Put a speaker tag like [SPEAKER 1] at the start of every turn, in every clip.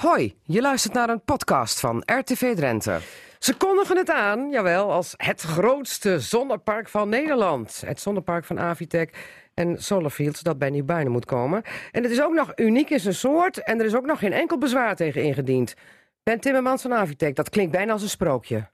[SPEAKER 1] Hoi, je luistert naar een podcast van RTV Drenthe. Ze kondigen het aan, jawel, als het grootste zonnepark van Nederland. Het zonnepark van Avitec en Solarfield, dat bij Nieuwbuinen moet komen. En het is ook nog uniek in zijn soort en er is ook nog geen enkel bezwaar tegen ingediend. Ben Timmermans van Avitec, dat klinkt bijna als een sprookje.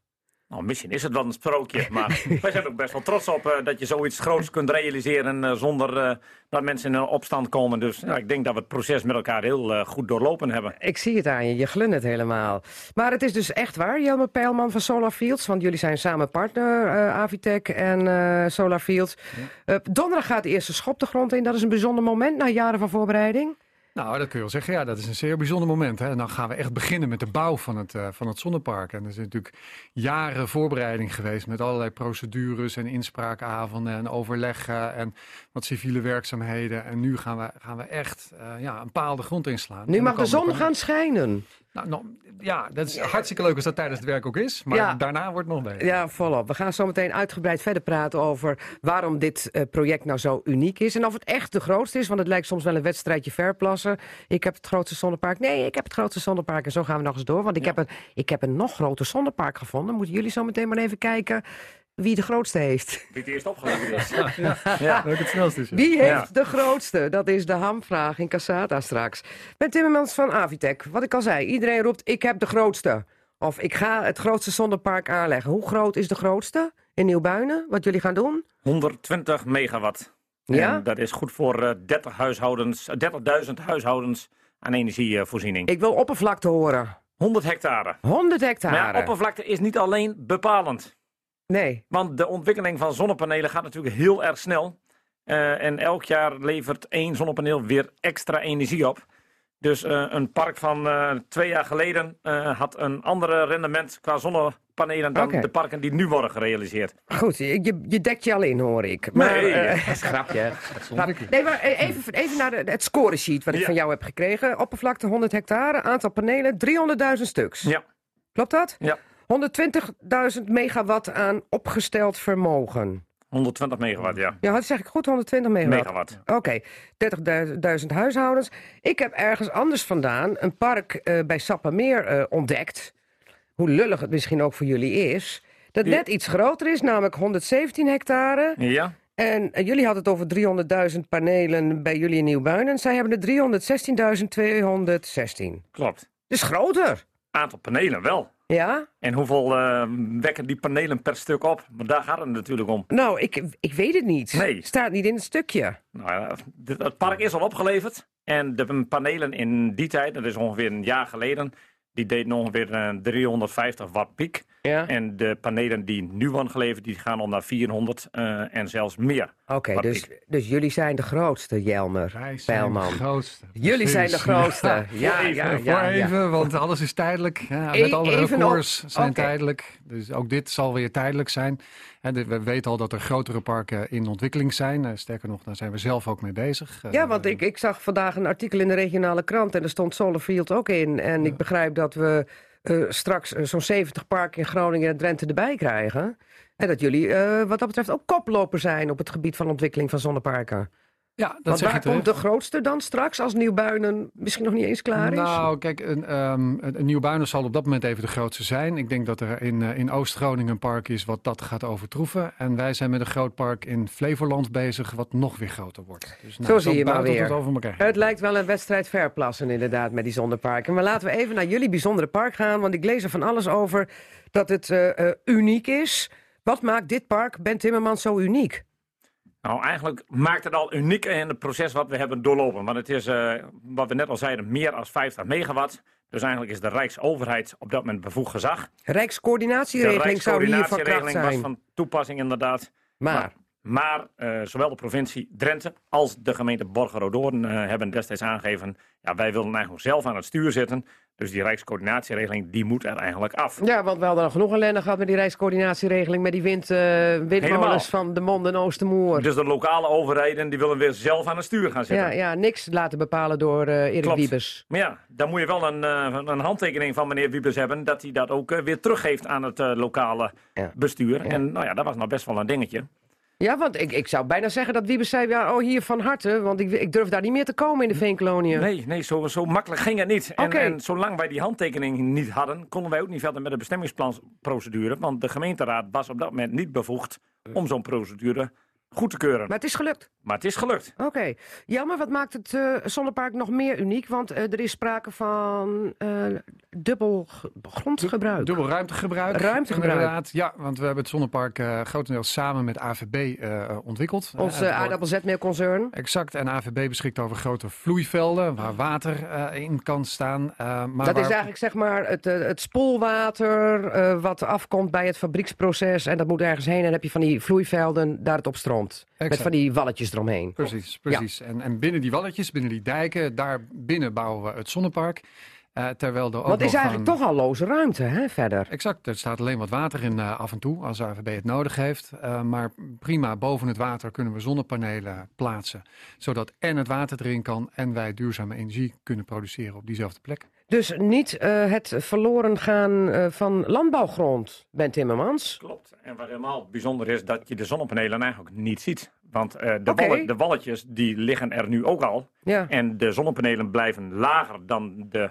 [SPEAKER 2] Nou, misschien is het wel een sprookje, maar wij zijn ook best wel trots op eh, dat je zoiets groots kunt realiseren eh, zonder eh, dat mensen in een opstand komen. Dus nou, ik denk dat we het proces met elkaar heel eh, goed doorlopen hebben.
[SPEAKER 1] Ik zie het aan je, je glunt het helemaal. Maar het is dus echt waar, Jelme Peilman van Solarfields. Want jullie zijn samen partner, eh Avitec en eh Solarfields. Eh, donderdag gaat de eerste schop de grond in. Dat is een bijzonder moment na jaren van voorbereiding.
[SPEAKER 3] Nou, dat kun je wel zeggen. Ja, dat is een zeer bijzonder moment. Hè. En dan gaan we echt beginnen met de bouw van het, eh, van het zonnepark. En er is natuurlijk jaren voorbereiding geweest met allerlei procedures en inspraakavonden en overleggen en wat civiele werkzaamheden. En nu gaan we, gaan we echt eh, ja, een paal de grond inslaan.
[SPEAKER 1] Nu
[SPEAKER 3] En
[SPEAKER 1] mag
[SPEAKER 3] dan
[SPEAKER 1] de
[SPEAKER 3] komen
[SPEAKER 1] zon
[SPEAKER 3] we-
[SPEAKER 1] gaan schijnen.
[SPEAKER 3] Nou, nou, ja, dat is hartstikke leuk als dat tijdens het werk ook is. Maar
[SPEAKER 1] Ja.
[SPEAKER 3] daarna wordt het nog beter.
[SPEAKER 1] Ja, volop. We gaan zo meteen uitgebreid verder praten over waarom dit eh, project nou zo uniek is. En of het echt de grootste is, want het lijkt soms wel een wedstrijdje verplassen. Ik heb het grootste zonnepark. Nee, ik heb het grootste zonnepark. En zo gaan we nog eens door. Want ik, heb, een, ik heb een nog groter zonnepark gevonden. Moeten jullie zo meteen maar even kijken wie de grootste heeft.
[SPEAKER 2] Dit eerst opgeleverd is.
[SPEAKER 3] Leuk het snelst is. ja.
[SPEAKER 1] Wie heeft
[SPEAKER 2] Ja.
[SPEAKER 1] de grootste? Dat is de hamvraag in Cassata straks. Ben Timmermans van Avitec. Wat ik al zei, iedereen roept ik heb de grootste. Of ik ga het grootste zonnepark aanleggen. Hoe groot is de grootste in Nieuwbuinen? Wat jullie gaan doen?
[SPEAKER 2] 120 megawatt.
[SPEAKER 1] Ja?
[SPEAKER 2] En dat is goed voor eh, 30 huishoudens, eh, 30.000 huishoudens aan energievoorziening.
[SPEAKER 1] Ik wil oppervlakte horen.
[SPEAKER 2] 100 hectare.
[SPEAKER 1] 100 hectare.
[SPEAKER 2] Maar ja, oppervlakte is niet alleen bepalend.
[SPEAKER 1] Nee.
[SPEAKER 2] Want de ontwikkeling van zonnepanelen gaat natuurlijk heel erg snel. Eh, en elk jaar levert één zonnepaneel weer extra energie op. Dus eh, een park van eh, twee jaar geleden eh, had een ander rendement qua zonnepanelen dan
[SPEAKER 1] Oké.
[SPEAKER 2] de parken die nu worden gerealiseerd.
[SPEAKER 1] Goed, je, je- je dekt je al in, hoor ik. Maar,
[SPEAKER 2] Nee,
[SPEAKER 1] eh,
[SPEAKER 2] dat is een grapje.
[SPEAKER 1] maar- nee, maar eh, even, even naar de, het scoresheet wat ik
[SPEAKER 2] Ja.
[SPEAKER 1] van jou heb gekregen. Oppervlakte 100 hectare, aantal panelen 300.000 stuks.
[SPEAKER 2] Ja,
[SPEAKER 1] Klopt dat?
[SPEAKER 2] ja.
[SPEAKER 1] 120.000 megawatt aan opgesteld vermogen.
[SPEAKER 2] 120 megawatt, ja.
[SPEAKER 1] Ja, dat zeg ik goed, 120 megawatt.
[SPEAKER 2] Megawatt.
[SPEAKER 1] Oké, 30.000 huishoudens. Ik heb ergens anders vandaan een park eh, bij Sappemeer eh, ontdekt. Hoe lullig het misschien ook voor jullie is. Dat
[SPEAKER 2] Ja.
[SPEAKER 1] net iets groter is, namelijk 117 hectare.
[SPEAKER 2] Ja,
[SPEAKER 1] En eh, jullie hadden het over 300.000 panelen bij jullie in Nieuwbuinen. Zij hebben er 316.216.
[SPEAKER 2] klopt.
[SPEAKER 1] Dus groter,
[SPEAKER 2] Aantal panelen wel.
[SPEAKER 1] ja?
[SPEAKER 2] En hoeveel eh, wekken die panelen per stuk op? Maar daar gaat het natuurlijk om.
[SPEAKER 1] Nou, ik, ik weet het niet.
[SPEAKER 2] Nee.
[SPEAKER 1] Staat niet in het stukje.
[SPEAKER 2] Nou ja, dit- het park is al opgeleverd. En de panelen in die tijd, dat is ongeveer een jaar geleden, die deden ongeveer eh, 350 watt piek.
[SPEAKER 1] Ja.
[SPEAKER 2] En de panelen die nu worden geleverd, die gaan al naar 400 eh, en zelfs meer.
[SPEAKER 1] Oké,
[SPEAKER 2] Wat
[SPEAKER 1] dus,
[SPEAKER 2] ik-
[SPEAKER 1] dus jullie zijn de grootste, Jelmer.
[SPEAKER 3] Wij zijn
[SPEAKER 1] Pijlman.
[SPEAKER 3] de grootste.
[SPEAKER 1] Jullie zijn de
[SPEAKER 3] Precies.
[SPEAKER 1] grootste. Ja, ja,
[SPEAKER 2] Voor even,
[SPEAKER 1] Eh, ja.
[SPEAKER 3] Eh, voor even, want alles is tijdelijk. Ja,
[SPEAKER 1] E-
[SPEAKER 3] met alle
[SPEAKER 1] even
[SPEAKER 3] records
[SPEAKER 1] op-
[SPEAKER 3] zijn
[SPEAKER 1] oké.
[SPEAKER 3] tijdelijk. Dus ook dit zal weer tijdelijk zijn. En dit- we weten al dat er grotere parken in ontwikkeling zijn. Eh, sterker nog, daar zijn we zelf ook mee bezig.
[SPEAKER 1] Ja,
[SPEAKER 3] Eh,
[SPEAKER 1] want ik, ik zag vandaag een artikel in de regionale krant en er stond Solarfield ook in. En ik begrijp dat we eh, straks eh, zo'n 70 parken in Groningen en Drenthe erbij krijgen. En dat jullie eh, wat dat betreft ook koploper zijn op het gebied van ontwikkeling van zonneparken.
[SPEAKER 3] ja, dat
[SPEAKER 1] want
[SPEAKER 3] zeg
[SPEAKER 1] waar
[SPEAKER 3] je terecht.
[SPEAKER 1] komt de grootste dan straks als Nieuwbuinen misschien nog niet eens klaar is?
[SPEAKER 3] Nou, kijk, een, ehm een een Nieuwbuinen zal op dat moment even de grootste zijn. Ik denk dat er in, eh, in Oost-Groningen een park is wat dat gaat overtroeven. En wij zijn met een groot park in Flevoland bezig, wat nog weer groter wordt. Dus nou,
[SPEAKER 1] Zo zie je maar
[SPEAKER 3] buitelt
[SPEAKER 1] weer.
[SPEAKER 3] het over elkaar. heen.
[SPEAKER 1] Het lijkt wel een wedstrijd verplassen inderdaad met die zonneparken. Maar laten we even naar jullie bijzondere park gaan, want ik lees er van alles over dat het eh, eh, uniek is. Wat maakt dit park, Ben Timmermans, zo uniek?
[SPEAKER 2] Nou, eigenlijk maakt het al uniek in het proces wat we hebben doorlopen. Want het is, eh, wat we net al zeiden, meer dan 50 megawatt. Dus eigenlijk is de Rijksoverheid op dat moment bevoegd gezag.
[SPEAKER 1] Rijkscoördinatieregeling zou hier van kracht
[SPEAKER 2] Rijkscoördinatieregeling was
[SPEAKER 1] zijn.
[SPEAKER 2] van toepassing inderdaad.
[SPEAKER 1] Maar,
[SPEAKER 2] Maar eh, zowel de provincie Drenthe als de gemeente Borgerode eh hebben destijds aangegeven... Ja, wij willen eigenlijk zelf aan het stuur zitten. Dus die rijkscoördinatieregeling die moet er eigenlijk af.
[SPEAKER 1] ja, want we hadden al genoeg ellende gehad met die rijkscoördinatieregeling... met die wind, eh,
[SPEAKER 2] Helemaal.
[SPEAKER 1] windmolens van de Mond en Oostermoer.
[SPEAKER 2] Dus de lokale overheden die willen weer zelf aan het stuur gaan zitten.
[SPEAKER 1] Ja, ja, niks laten bepalen door eh Erik
[SPEAKER 2] Klopt.
[SPEAKER 1] Wiebes.
[SPEAKER 2] Maar ja, dan moet je wel een, eh, een handtekening van meneer Wiebes hebben... dat hij dat ook eh, weer teruggeeft aan het eh, lokale
[SPEAKER 1] Ja.
[SPEAKER 2] bestuur. En nou ja, dat was nou best wel een dingetje.
[SPEAKER 1] Ja, want ik, ik zou bijna zeggen dat Wiebes zei, ja, oh hier van harte, want ik, ik durf daar niet meer te komen in de veenkoloniën.
[SPEAKER 2] Nee, nee zo, zo makkelijk ging het niet. En,
[SPEAKER 1] Oké.
[SPEAKER 2] en zolang wij die handtekening niet hadden, konden wij ook niet verder met de bestemmingsplansprocedure. Want de gemeenteraad was op dat moment niet bevoegd om zo'n procedure goed te keuren.
[SPEAKER 1] Maar het is gelukt.
[SPEAKER 2] Maar het is gelukt.
[SPEAKER 1] Oké. Ja, maar wat maakt het eh, zonnepark nog meer uniek? Want eh, er is sprake van eh, dubbel g- grondgebruik.
[SPEAKER 3] Dubbel ruimtegebruik.
[SPEAKER 1] Ruimtegebruik.
[SPEAKER 3] Inderdaad, ja, want we hebben het zonnepark eh, grotendeels samen met AVB eh, ontwikkeld. Eh,
[SPEAKER 1] Ons
[SPEAKER 3] het
[SPEAKER 1] uh,
[SPEAKER 3] wordt-
[SPEAKER 1] aardappelzetmeelconcern.
[SPEAKER 3] Exact, en AVB beschikt over grote vloeivelden waar water eh, in kan staan. eh, maar
[SPEAKER 1] Dat
[SPEAKER 3] waar-
[SPEAKER 1] is eigenlijk zeg maar het, eh, het spoelwater eh, wat afkomt bij het fabrieksproces. En dat moet ergens heen. En dan heb je van die vloeivelden daar het op stroomt. Met
[SPEAKER 3] Exact.
[SPEAKER 1] van die walletjes eromheen.
[SPEAKER 3] Precies, precies. En, en binnen die walletjes, binnen die dijken, daar binnen bouwen we het zonnepark. Eh, terwijl er ook
[SPEAKER 1] Want het is
[SPEAKER 3] nog
[SPEAKER 1] eigenlijk
[SPEAKER 3] een-
[SPEAKER 1] toch al loze ruimte hè, verder.
[SPEAKER 3] Exact, er staat alleen wat water in eh, af en toe als de AVB het nodig heeft. Eh, maar prima, boven het water kunnen we zonnepanelen plaatsen. Zodat en het water erin kan en wij duurzame energie kunnen produceren op diezelfde plek.
[SPEAKER 1] Dus niet eh, het verloren gaan eh, van landbouwgrond, Ben Timmermans.
[SPEAKER 2] Klopt. En wat helemaal bijzonder is, dat je de zonnepanelen eigenlijk niet ziet. Want eh, de,
[SPEAKER 1] Oké.
[SPEAKER 2] wallen- de walletjes die liggen er nu ook al.
[SPEAKER 1] Ja.
[SPEAKER 2] En de zonnepanelen blijven lager dan de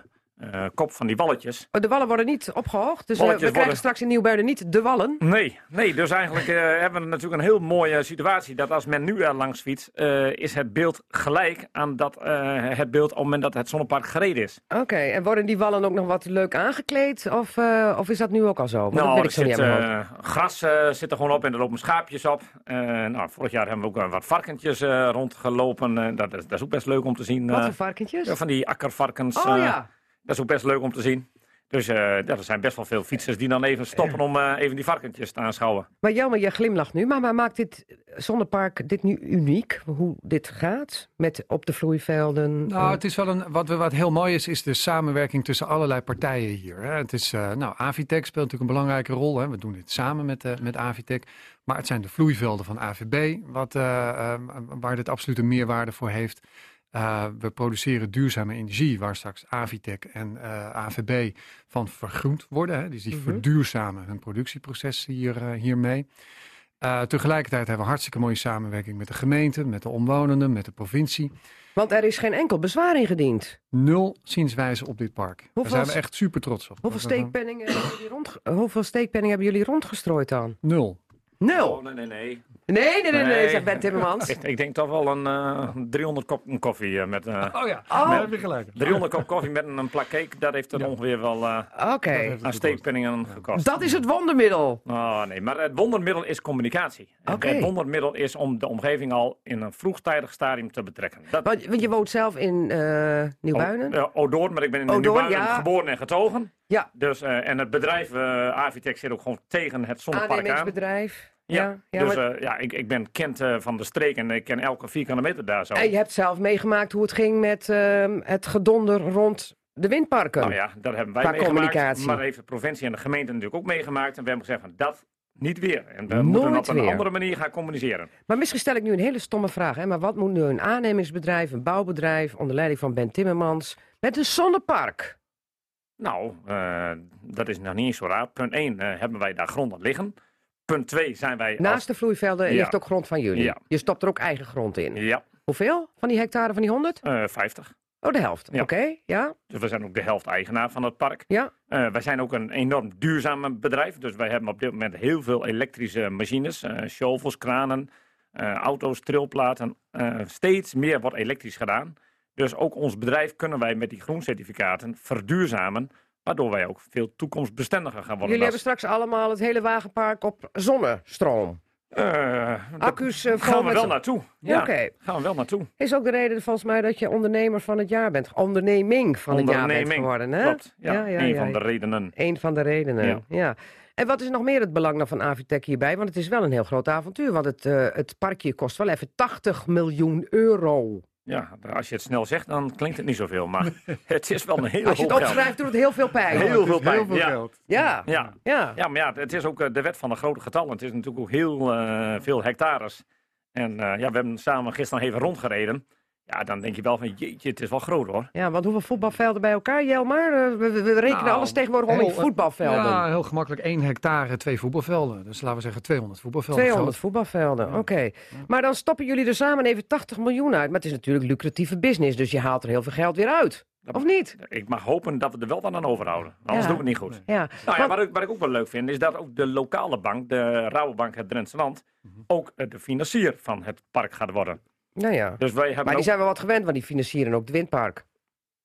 [SPEAKER 2] eh, kop van die walletjes.
[SPEAKER 1] Oh, De wallen worden niet opgehoogd. Dus eh, we
[SPEAKER 2] Walletjes
[SPEAKER 1] krijgen
[SPEAKER 2] worden-
[SPEAKER 1] straks in Nieuwbuiden niet de wallen.
[SPEAKER 2] Nee, nee, dus eigenlijk eh, hebben we natuurlijk een heel mooie situatie. Dat als men nu er langs fietst, eh, is het beeld gelijk aan dat, eh, het beeld op het moment dat het zonnepark gereden is.
[SPEAKER 1] Oké, en worden die wallen ook nog wat leuk aangekleed? Of, eh, of is dat nu ook al zo? Want dat
[SPEAKER 2] nou,
[SPEAKER 1] weet ik zo
[SPEAKER 2] er
[SPEAKER 1] niet
[SPEAKER 2] zit,
[SPEAKER 1] uit mijn hoofd.
[SPEAKER 2] eh, gras eh, zit er gewoon op en er lopen schaapjes op. Eh, nou, vorig jaar hebben we ook eh, wat varkentjes eh, rondgelopen. Eh, dat, is- dat is ook best leuk om te zien.
[SPEAKER 1] Wat
[SPEAKER 2] eh,
[SPEAKER 1] voor varkentjes?
[SPEAKER 2] ja, van die akkervarkens.
[SPEAKER 1] oh
[SPEAKER 2] eh,
[SPEAKER 1] ja.
[SPEAKER 2] Dat is ook best leuk om te zien. Dus eh, ja, er zijn best wel veel fietsers die dan even stoppen om eh, even die varkentjes te aanschouwen.
[SPEAKER 1] Maar jammer, je glimlacht nu. Maar, maar maakt dit zonnepark dit nu uniek? Hoe dit gaat? Met op de vloeivelden?
[SPEAKER 3] Nou,
[SPEAKER 1] eh,
[SPEAKER 3] het is wel een, wat, we- wat heel mooi is, is de samenwerking tussen allerlei partijen hier. Hè. Het is, eh, nou, Avitec speelt natuurlijk een belangrijke rol. Hè. We doen dit samen met, eh met Avitec. Maar het zijn de vloeivelden van AVB wat, eh, eh, waar dit absoluut een meerwaarde voor heeft. Eh, we produceren duurzame energie, waar straks Avitec en eh, AVB van vergroend worden. Hè. Dus die
[SPEAKER 1] Mhm.
[SPEAKER 3] verduurzamen hun productieproces hier, eh, hiermee. Eh, tegelijkertijd hebben we hartstikke mooie samenwerking met de gemeente, met de omwonenden, met de provincie.
[SPEAKER 1] want er is geen enkel bezwaar ingediend.
[SPEAKER 3] Nul zienswijze op dit park. Daar
[SPEAKER 1] Hoeveel
[SPEAKER 3] zijn
[SPEAKER 1] s-
[SPEAKER 3] we echt super trots op.
[SPEAKER 1] Hoeveel
[SPEAKER 3] Dat we gewoon-
[SPEAKER 1] steekpenningen, hebben jullie rond, hoeveel steekpenningen hebben jullie rondgestrooid dan?
[SPEAKER 3] Nul.
[SPEAKER 1] Nul.
[SPEAKER 2] Oh, nee, nee, nee.
[SPEAKER 1] Nee, nee, nee, nee,
[SPEAKER 2] Nee.
[SPEAKER 1] zegt Ben Timmermans.
[SPEAKER 2] Ik, ik denk toch wel een eh, 300 kop koffie eh, met... eh,
[SPEAKER 3] Oh ja,
[SPEAKER 1] Oh.
[SPEAKER 3] daar heb je gelijk.
[SPEAKER 2] 300 kop koffie met een, een plak cake, dat heeft er
[SPEAKER 3] Ja.
[SPEAKER 2] ongeveer wel eh
[SPEAKER 1] Oké,
[SPEAKER 2] aan steekpenningen gekost.
[SPEAKER 1] dat is het wondermiddel.
[SPEAKER 2] Oh nee, maar het wondermiddel is communicatie. Het-
[SPEAKER 1] Oké.
[SPEAKER 2] Het wondermiddel is om de omgeving al in een vroegtijdig stadium te betrekken. Dat,
[SPEAKER 1] Want, want je woont zelf in eh Nieuwbuinen.
[SPEAKER 2] Ja, Odoorn, maar ik ben in
[SPEAKER 1] Odoorn,
[SPEAKER 2] Nieuwbuinen
[SPEAKER 1] ja.
[SPEAKER 2] geboren en getogen.
[SPEAKER 1] Ja,
[SPEAKER 2] Dus, eh, en het bedrijf eh Avitech zit ook gewoon tegen het zonnepark aan.
[SPEAKER 1] aannemingsbedrijf.
[SPEAKER 2] Ja,
[SPEAKER 1] Ja, ja,
[SPEAKER 2] dus
[SPEAKER 1] maar-
[SPEAKER 2] eh, ja, ik, ik ben kind eh, van de streek en ik ken elke vierkante meter daar zo.
[SPEAKER 1] En je hebt zelf meegemaakt hoe het ging met ehm, het gedonder rond de windparken.
[SPEAKER 2] Nou ja, dat hebben wij
[SPEAKER 1] Qua
[SPEAKER 2] meegemaakt.
[SPEAKER 1] communicatie.
[SPEAKER 2] Maar dat heeft de provincie en de gemeente natuurlijk ook meegemaakt. En we hebben gezegd van dat niet weer. En we
[SPEAKER 1] Nooit
[SPEAKER 2] moeten op een
[SPEAKER 1] weer.
[SPEAKER 2] andere manier gaan communiceren.
[SPEAKER 1] Maar misschien stel ik nu een hele stomme vraag. Hè? Maar wat moet nu een aannemingsbedrijf, een bouwbedrijf onder leiding van Ben Timmermans met een zonnepark?
[SPEAKER 2] Nou, eh, dat is nog niet eens zo raar. Punt 1, hebben wij daar grond aan liggen. Punt 2 zijn wij...
[SPEAKER 1] Naast de vloeivelden
[SPEAKER 2] Ja.
[SPEAKER 1] ligt ook grond van jullie.
[SPEAKER 2] Ja.
[SPEAKER 1] Je stopt er ook eigen grond in.
[SPEAKER 2] als- ja,
[SPEAKER 1] Hoeveel van die hectare van die 100?
[SPEAKER 2] eh 50.
[SPEAKER 1] Oh, de helft.
[SPEAKER 2] Ja.
[SPEAKER 1] Oké, ja.
[SPEAKER 2] Dus we zijn ook de helft eigenaar van het park.
[SPEAKER 1] Ja.
[SPEAKER 2] Eh, wij zijn ook een enorm duurzaam bedrijf. Dus wij hebben op dit moment heel veel elektrische machines. eh shovels, kranen, eh, auto's, trilplaten. Eh, steeds meer wordt elektrisch gedaan. Dus ook ons bedrijf kunnen wij met die groencertificaten verduurzamen. Waardoor wij ook veel toekomstbestendiger gaan worden.
[SPEAKER 1] Jullie hebben straks allemaal het hele wagenpark op zonnestroom.
[SPEAKER 2] Eh, daar
[SPEAKER 1] Accu's eh, vol
[SPEAKER 2] gaan we
[SPEAKER 1] met
[SPEAKER 2] wel
[SPEAKER 1] zon-
[SPEAKER 2] naartoe. Ja,
[SPEAKER 1] Oké.
[SPEAKER 2] gaan we wel naartoe.
[SPEAKER 1] Is ook de reden volgens mij dat je ondernemer van het jaar bent. Onderneming van het jaar bent geworden, hè?
[SPEAKER 2] Klopt, ja.
[SPEAKER 1] Ja, ja,
[SPEAKER 2] een
[SPEAKER 1] ja,
[SPEAKER 2] van
[SPEAKER 1] ja.
[SPEAKER 2] de redenen.
[SPEAKER 1] Een van de redenen, ja.
[SPEAKER 2] Ja.
[SPEAKER 1] En wat is nog meer het belang dan van Avitec hierbij? Want het is wel een heel groot avontuur. Want het, eh, het parkje kost wel even 80 miljoen euro.
[SPEAKER 2] Ja, als je het snel zegt, dan klinkt het niet zoveel. Maar het is wel een hele
[SPEAKER 1] Als je het
[SPEAKER 2] hoop geld.
[SPEAKER 1] opschrijft, doet het heel veel pijn.
[SPEAKER 2] Heel
[SPEAKER 3] Ja, het is
[SPEAKER 2] veel pijn, ja.
[SPEAKER 3] geld.
[SPEAKER 1] Ja, ja.
[SPEAKER 2] Ja,
[SPEAKER 1] ja.
[SPEAKER 2] Ja, maar ja, het is ook eh, de wet van de grote getallen. Het is natuurlijk ook heel eh, veel hectares. En eh, ja, we hebben samen gisteren even rondgereden. Ja, dan denk je wel van, jeetje, het is wel groot hoor.
[SPEAKER 1] Ja, want hoeveel voetbalvelden bij elkaar? Jel maar, eh, we, we- we rekenen
[SPEAKER 3] Nou,
[SPEAKER 1] alles tegenwoordig om in
[SPEAKER 2] eh,
[SPEAKER 3] heel-
[SPEAKER 1] voetbalvelden.
[SPEAKER 3] Ja, heel gemakkelijk. 1 hectare, twee voetbalvelden. Dus laten we zeggen 200 voetbalvelden.
[SPEAKER 1] 200 voetbalvelden, oké. Maar dan stappen jullie er samen even 80 miljoen uit. Maar het is natuurlijk lucratieve business, dus je haalt er heel veel geld weer uit.
[SPEAKER 2] Dat-
[SPEAKER 1] Of niet?
[SPEAKER 2] Ik mag hopen dat we er wel wat aan overhouden. Anders
[SPEAKER 1] Ja.
[SPEAKER 2] doen we het niet goed.
[SPEAKER 1] Ja.
[SPEAKER 2] Nou ja,
[SPEAKER 1] Want-
[SPEAKER 2] wat ik, wat ik ook wel leuk vind, is dat ook de lokale bank, de Rabobank het Drentse Land,
[SPEAKER 1] Mhm.
[SPEAKER 2] ook eh, de financier van het park gaat worden.
[SPEAKER 1] nou ja.
[SPEAKER 2] Dus wij hebben
[SPEAKER 1] Maar die
[SPEAKER 2] ook
[SPEAKER 1] zijn wel wat gewend, want die financieren ook het windpark.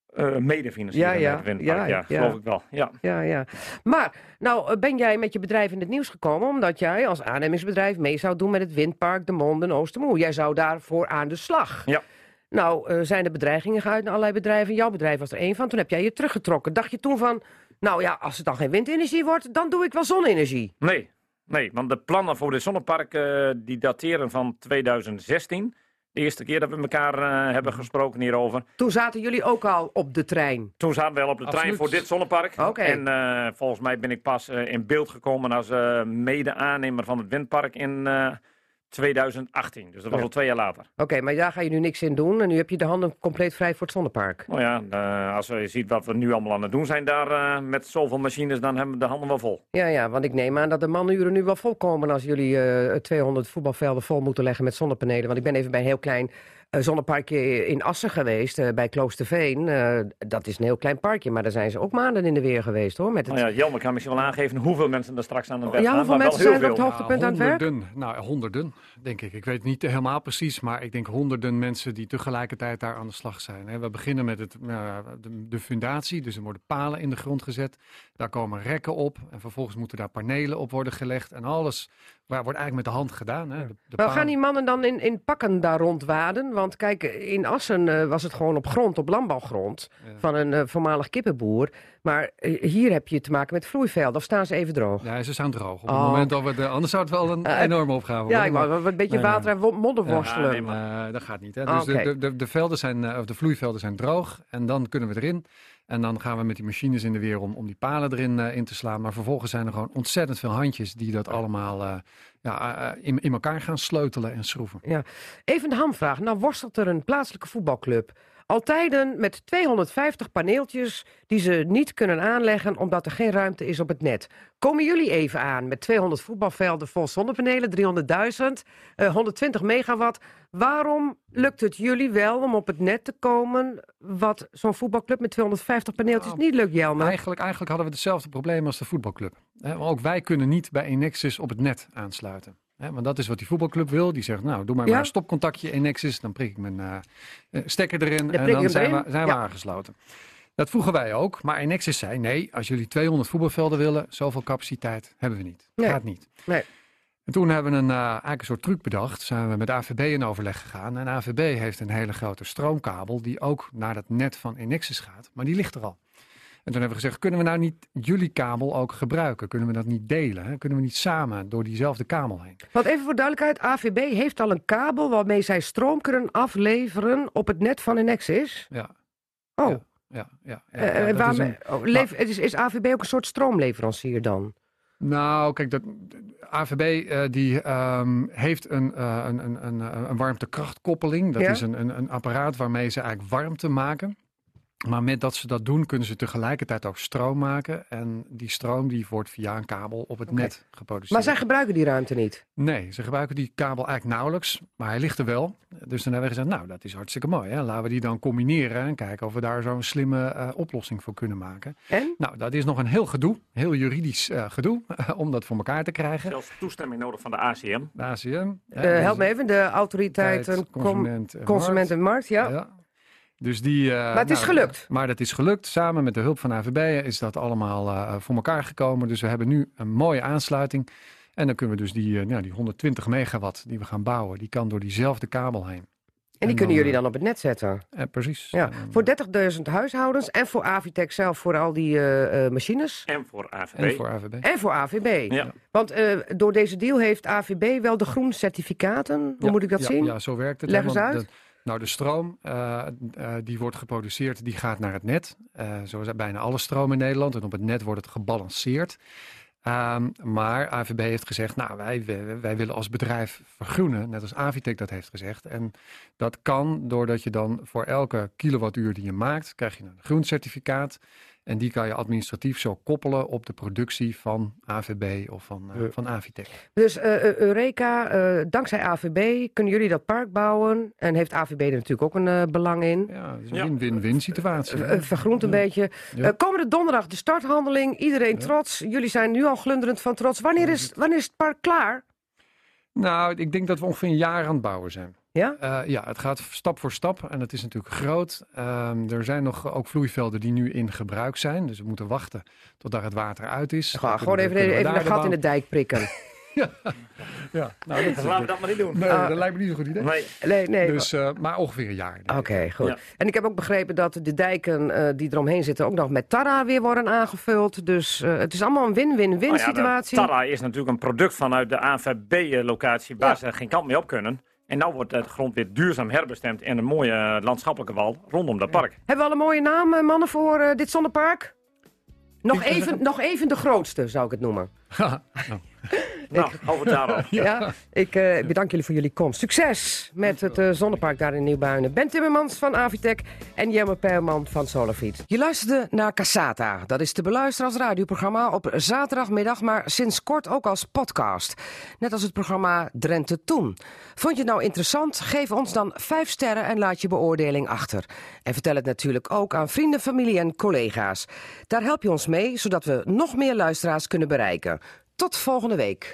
[SPEAKER 2] eh, medefinancier
[SPEAKER 1] Ja,
[SPEAKER 2] met
[SPEAKER 1] ja,
[SPEAKER 2] het windpark.
[SPEAKER 1] ja,
[SPEAKER 2] Ja,
[SPEAKER 1] ja.
[SPEAKER 2] geloof ik wel. Ja.
[SPEAKER 1] Ja, ja. Maar, nou eh, ben jij met je bedrijf in het nieuws gekomen... omdat jij als aannemingsbedrijf mee zou doen met het windpark De Mond en Oostermoe. Jij zou daarvoor aan de slag.
[SPEAKER 2] Ja.
[SPEAKER 1] Nou, eh, zijn er bedreigingen geuit naar allerlei bedrijven. Jouw bedrijf was er één van. Toen heb jij je teruggetrokken. Dacht je toen van, nou ja, als het dan geen windenergie wordt... dan doe ik wel zonne-energie.
[SPEAKER 2] Nee, nee, want de plannen voor dit zonnepark eh, die dateren van 2016. De eerste keer dat we elkaar eh, hebben gesproken hierover.
[SPEAKER 1] Toen zaten jullie ook al op de trein.
[SPEAKER 2] Toen zaten we al op de trein
[SPEAKER 3] Absoluut.
[SPEAKER 2] voor dit zonnepark.
[SPEAKER 1] Oké.
[SPEAKER 2] En eh, volgens mij ben ik pas eh, in beeld gekomen als eh, mede-aannemer van het windpark in eh, 2018. Dus dat was
[SPEAKER 1] Ja.
[SPEAKER 2] al twee jaar later.
[SPEAKER 1] Oké, maar daar ga je nu niks in doen. En nu heb je de handen compleet vrij voor het zonnepark.
[SPEAKER 2] Nou ja, eh, als je ziet wat we nu allemaal aan het doen zijn daar eh, met zoveel machines, dan hebben we de handen wel vol.
[SPEAKER 1] Ja, ja, want ik neem aan dat de manuren nu wel volkomen... als jullie eh, 200 voetbalvelden vol moeten leggen met zonnepanelen. Want ik ben even bij een heel klein eh, zonneparkje in Assen geweest, eh, bij Kloosterveen. Eh, dat is een heel klein parkje, maar daar zijn ze ook maanden in de weer geweest, hoor. Met het...
[SPEAKER 2] Nou ja, Jelmer kan misschien wel aangeven hoeveel mensen er straks aan het werk
[SPEAKER 1] Ja,
[SPEAKER 2] gaan.
[SPEAKER 1] hoeveel
[SPEAKER 2] maar
[SPEAKER 1] mensen
[SPEAKER 2] wel
[SPEAKER 1] zijn er
[SPEAKER 2] heel
[SPEAKER 1] op het
[SPEAKER 2] veel.
[SPEAKER 1] Hoogtepunt aan het werk?
[SPEAKER 3] honderden, nou honderden, denk ik. Ik weet niet helemaal precies, maar ik denk honderden mensen die tegelijkertijd daar aan de slag zijn. hè. We beginnen met het, eh, de, de fundatie, dus er worden palen in de grond gezet. Daar komen rekken op en vervolgens moeten daar panelen op worden gelegd. En alles waar, wordt eigenlijk met de hand gedaan. Hè. De, de
[SPEAKER 1] Maar
[SPEAKER 3] palen-
[SPEAKER 1] gaan die mannen dan in, in pakken daar rondwaden? Want kijk, in Assen eh, was het gewoon op grond, op landbouwgrond...
[SPEAKER 3] Ja.
[SPEAKER 1] van een eh, voormalig kippenboer. Maar eh, hier heb je te maken met vloeivelden. Of staan ze even droog?
[SPEAKER 3] Ja, ze staan droog. Op
[SPEAKER 1] Oh.
[SPEAKER 3] het moment dat we de, anders zou het wel een
[SPEAKER 1] Eh,
[SPEAKER 3] enorme opgave worden.
[SPEAKER 1] Ja, ik
[SPEAKER 3] maar-
[SPEAKER 1] wou wel een beetje
[SPEAKER 3] Nee, nee.
[SPEAKER 1] water en wo- modder
[SPEAKER 3] Ja,
[SPEAKER 1] worstelen.
[SPEAKER 2] nee,
[SPEAKER 3] Eh, dat gaat niet. Hè?
[SPEAKER 1] Ah,
[SPEAKER 3] Dus de-
[SPEAKER 1] oké.
[SPEAKER 3] de, de, de, velden zijn, eh, of de vloeivelden zijn droog en dan kunnen we erin. En dan gaan we met die machines in de weer om, om die palen erin eh, in te slaan. Maar vervolgens zijn er gewoon ontzettend veel handjes die dat allemaal eh, ja, eh, in, in elkaar gaan sleutelen en schroeven.
[SPEAKER 1] Even een hamvraag. Nou worstelt er een plaatselijke voetbalclub. Al tijden met 250 paneeltjes die ze niet kunnen aanleggen omdat er geen ruimte is op het net. Komen jullie even aan met 200 voetbalvelden vol zonnepanelen, 300.000, eh, 120 megawatt. Waarom lukt het jullie wel om op het net te komen wat zo'n voetbalclub met 250 paneeltjes
[SPEAKER 3] Nou,
[SPEAKER 1] niet lukt, Jelma?
[SPEAKER 3] Eigenlijk, eigenlijk hadden we hetzelfde probleem als de voetbalclub. Hè? Maar ook wij kunnen niet bij Enexis op het net aansluiten. Hè? Want dat is wat die voetbalclub wil. Die zegt, nou, doe maar,
[SPEAKER 1] Ja.
[SPEAKER 3] maar een stopcontactje Enexis. Dan prik ik mijn eh, eh, stekker erin
[SPEAKER 1] prik
[SPEAKER 3] en
[SPEAKER 1] ik
[SPEAKER 3] dan
[SPEAKER 1] hem
[SPEAKER 3] zijn,
[SPEAKER 1] erin.
[SPEAKER 3] we, zijn we
[SPEAKER 1] Ja.
[SPEAKER 3] aangesloten. Dat vroegen wij ook, maar Enexis zei, nee, als jullie 200 voetbalvelden willen, zoveel capaciteit hebben we niet.
[SPEAKER 1] Nee.
[SPEAKER 3] Gaat niet.
[SPEAKER 1] Nee.
[SPEAKER 3] En toen hebben we een, eh, eigenlijk een soort truc bedacht. Zijn we met AVB in overleg gegaan. En AVB heeft een hele grote stroomkabel die ook naar dat net van Enexis gaat. Maar die ligt er al. En toen hebben we gezegd, kunnen we nou niet jullie kabel ook gebruiken? Kunnen we dat niet delen? Hè? Kunnen we niet samen door diezelfde kabel heen?
[SPEAKER 1] Want even voor duidelijkheid, AVB heeft al een kabel waarmee zij stroom kunnen afleveren op het net van Enexis.
[SPEAKER 3] Ja,
[SPEAKER 1] Oh,
[SPEAKER 3] Ja, ja, ja. ja,
[SPEAKER 1] eh,
[SPEAKER 3] ja, dat is
[SPEAKER 1] waarom-
[SPEAKER 3] een-
[SPEAKER 1] oh, leef- is, is AVB ook een soort stroomleverancier dan?
[SPEAKER 3] Nou, kijk, dat, AVB eh, die, ehm, heeft een, eh, een, een, een, eh, een warmtekrachtkoppeling. Dat
[SPEAKER 1] Ja.
[SPEAKER 3] is een, een, een apparaat waarmee ze eigenlijk warmte maken. Maar met dat ze dat doen, kunnen ze tegelijkertijd ook stroom maken. En die stroom die wordt via een kabel op het
[SPEAKER 1] Oké.
[SPEAKER 3] net geproduceerd.
[SPEAKER 1] Maar zij gebruiken die ruimte niet.
[SPEAKER 3] Nee, ze gebruiken die kabel eigenlijk nauwelijks, maar hij ligt er wel. Dus dan hebben we gezegd, nou, dat is hartstikke mooi. Hè? Laten we die dan combineren en kijken of we daar zo'n slimme eh, oplossing voor kunnen maken.
[SPEAKER 1] En?
[SPEAKER 3] Nou, dat is nog een heel gedoe, heel juridisch eh, gedoe, om dat voor elkaar te krijgen.
[SPEAKER 2] Zelfs toestemming nodig van de ACM.
[SPEAKER 3] De ACM.
[SPEAKER 1] Eh, help me even, de autoriteiten, com-
[SPEAKER 3] consument, en
[SPEAKER 1] consumentenmarkt, ja.
[SPEAKER 3] markt. Ja. Dus die, eh,
[SPEAKER 1] Maar het is
[SPEAKER 3] nou,
[SPEAKER 1] gelukt.
[SPEAKER 3] Maar dat is gelukt. Samen met de hulp van AVB is dat allemaal eh, voor elkaar gekomen. Dus we hebben nu een mooie aansluiting. En dan kunnen we dus die, eh, nou, die 120 megawatt die we gaan bouwen, die kan door diezelfde kabel heen.
[SPEAKER 1] En die
[SPEAKER 3] en
[SPEAKER 1] kunnen
[SPEAKER 3] dan,
[SPEAKER 1] jullie dan op het net zetten.
[SPEAKER 3] Eh, precies.
[SPEAKER 1] Ja,
[SPEAKER 3] En,
[SPEAKER 1] voor 30.000 huishoudens en voor Avitec zelf, voor al die eh, eh, machines.
[SPEAKER 2] En voor AVB.
[SPEAKER 3] en voor AVB.
[SPEAKER 1] En voor AVB.
[SPEAKER 3] Nou,
[SPEAKER 2] Ja.
[SPEAKER 1] Want eh, door deze deal heeft AVB wel de groene certificaten. Hoe
[SPEAKER 3] Ja,
[SPEAKER 1] moet ik dat
[SPEAKER 3] ja,
[SPEAKER 1] zien?
[SPEAKER 3] Ja, zo werkt het.
[SPEAKER 1] Leg
[SPEAKER 3] hè,
[SPEAKER 1] eens
[SPEAKER 3] want
[SPEAKER 1] uit.
[SPEAKER 3] de- nou, de stroom eh, eh, die wordt geproduceerd, die gaat naar het net. Eh, zo is bijna alle stroom in Nederland. En op het net wordt het gebalanceerd. Eh, Ehm, maar AVB heeft gezegd, nou wij, wi- wij willen als bedrijf vergroenen, net als Avitec dat heeft gezegd. En dat kan doordat je dan voor elke kilowattuur die je maakt, krijg je een groencertificaat. En die kan je administratief zo koppelen op de productie van AVB of van, eh,
[SPEAKER 1] Ja.
[SPEAKER 3] van Avitec.
[SPEAKER 1] Dus eh, eh, Eureka, eh, dankzij AVB kunnen jullie dat park bouwen. En heeft AVB er natuurlijk ook een eh, belang in.
[SPEAKER 3] Ja, dat is
[SPEAKER 2] Ja.
[SPEAKER 3] een win-win-win situatie.
[SPEAKER 1] Eh, vergroent een beetje.
[SPEAKER 3] Ja.
[SPEAKER 1] Eh, komende donderdag de starthandeling. Iedereen
[SPEAKER 3] Ja.
[SPEAKER 1] trots. Jullie zijn nu al glunderend van trots. Wanneer is, wanneer is het park klaar?
[SPEAKER 3] Nou, ik denk dat we ongeveer een jaar aan het bouwen zijn.
[SPEAKER 1] Ja?
[SPEAKER 3] Eh, ja, het gaat stap voor stap en het is natuurlijk groot. Ehm, er zijn nog ook vloeivelden die nu in gebruik zijn. Dus we moeten wachten tot daar het water uit is. Dan
[SPEAKER 1] Gewoon,
[SPEAKER 3] kunnen
[SPEAKER 1] gewoon
[SPEAKER 3] we-
[SPEAKER 1] even,
[SPEAKER 3] kunnen we
[SPEAKER 1] even
[SPEAKER 3] daar
[SPEAKER 1] een gat in de
[SPEAKER 3] bouw-
[SPEAKER 1] dijk prikken.
[SPEAKER 3] Ja, nou, dat, is
[SPEAKER 2] Laten we dat maar niet doen.
[SPEAKER 3] Nee,
[SPEAKER 1] Ah.
[SPEAKER 3] dat lijkt me niet zo'n goed idee.
[SPEAKER 2] Nee.
[SPEAKER 1] Nee, nee.
[SPEAKER 3] Dus, eh, maar ongeveer een jaar. denk
[SPEAKER 1] Oké,
[SPEAKER 3] ik.
[SPEAKER 1] goed.
[SPEAKER 2] Ja.
[SPEAKER 1] En ik heb ook begrepen dat de dijken eh, die eromheen zitten ook nog met Tara weer worden aangevuld. Dus eh, het is allemaal een win-win-win
[SPEAKER 3] Oh
[SPEAKER 2] Nou ja, de
[SPEAKER 1] situatie.
[SPEAKER 2] Tara is natuurlijk een product vanuit de AVB-locatie eh, waar ze geen kant mee op kunnen. En nou wordt de grond weer duurzaam herbestemd en een mooie eh, landschappelijke wal rondom dat park.
[SPEAKER 1] Hebben we al een mooie naam, eh, mannen, voor eh, dit zonnepark? Nog even, nog even de grootste, zou ik het noemen.
[SPEAKER 2] Nou, over Tara.
[SPEAKER 1] Ja. Ik eh, bedank jullie voor jullie komst. Succes met het eh, zonnepark daar in Nieuwbuinen. Ben Timmermans van Avitec en Jemme Perman van Solarfiet. Je luisterde naar Cassata. Dat is te beluisteren als radioprogramma op zaterdagmiddag, maar sinds kort ook als podcast. Net als het programma Drenthe Toen. Vond je het nou interessant? Geef ons dan vijf sterren en laat je beoordeling achter. En vertel het natuurlijk ook aan vrienden, familie en collega's. Daar help je ons mee, zodat we nog meer luisteraars kunnen bereiken. Tot volgende week.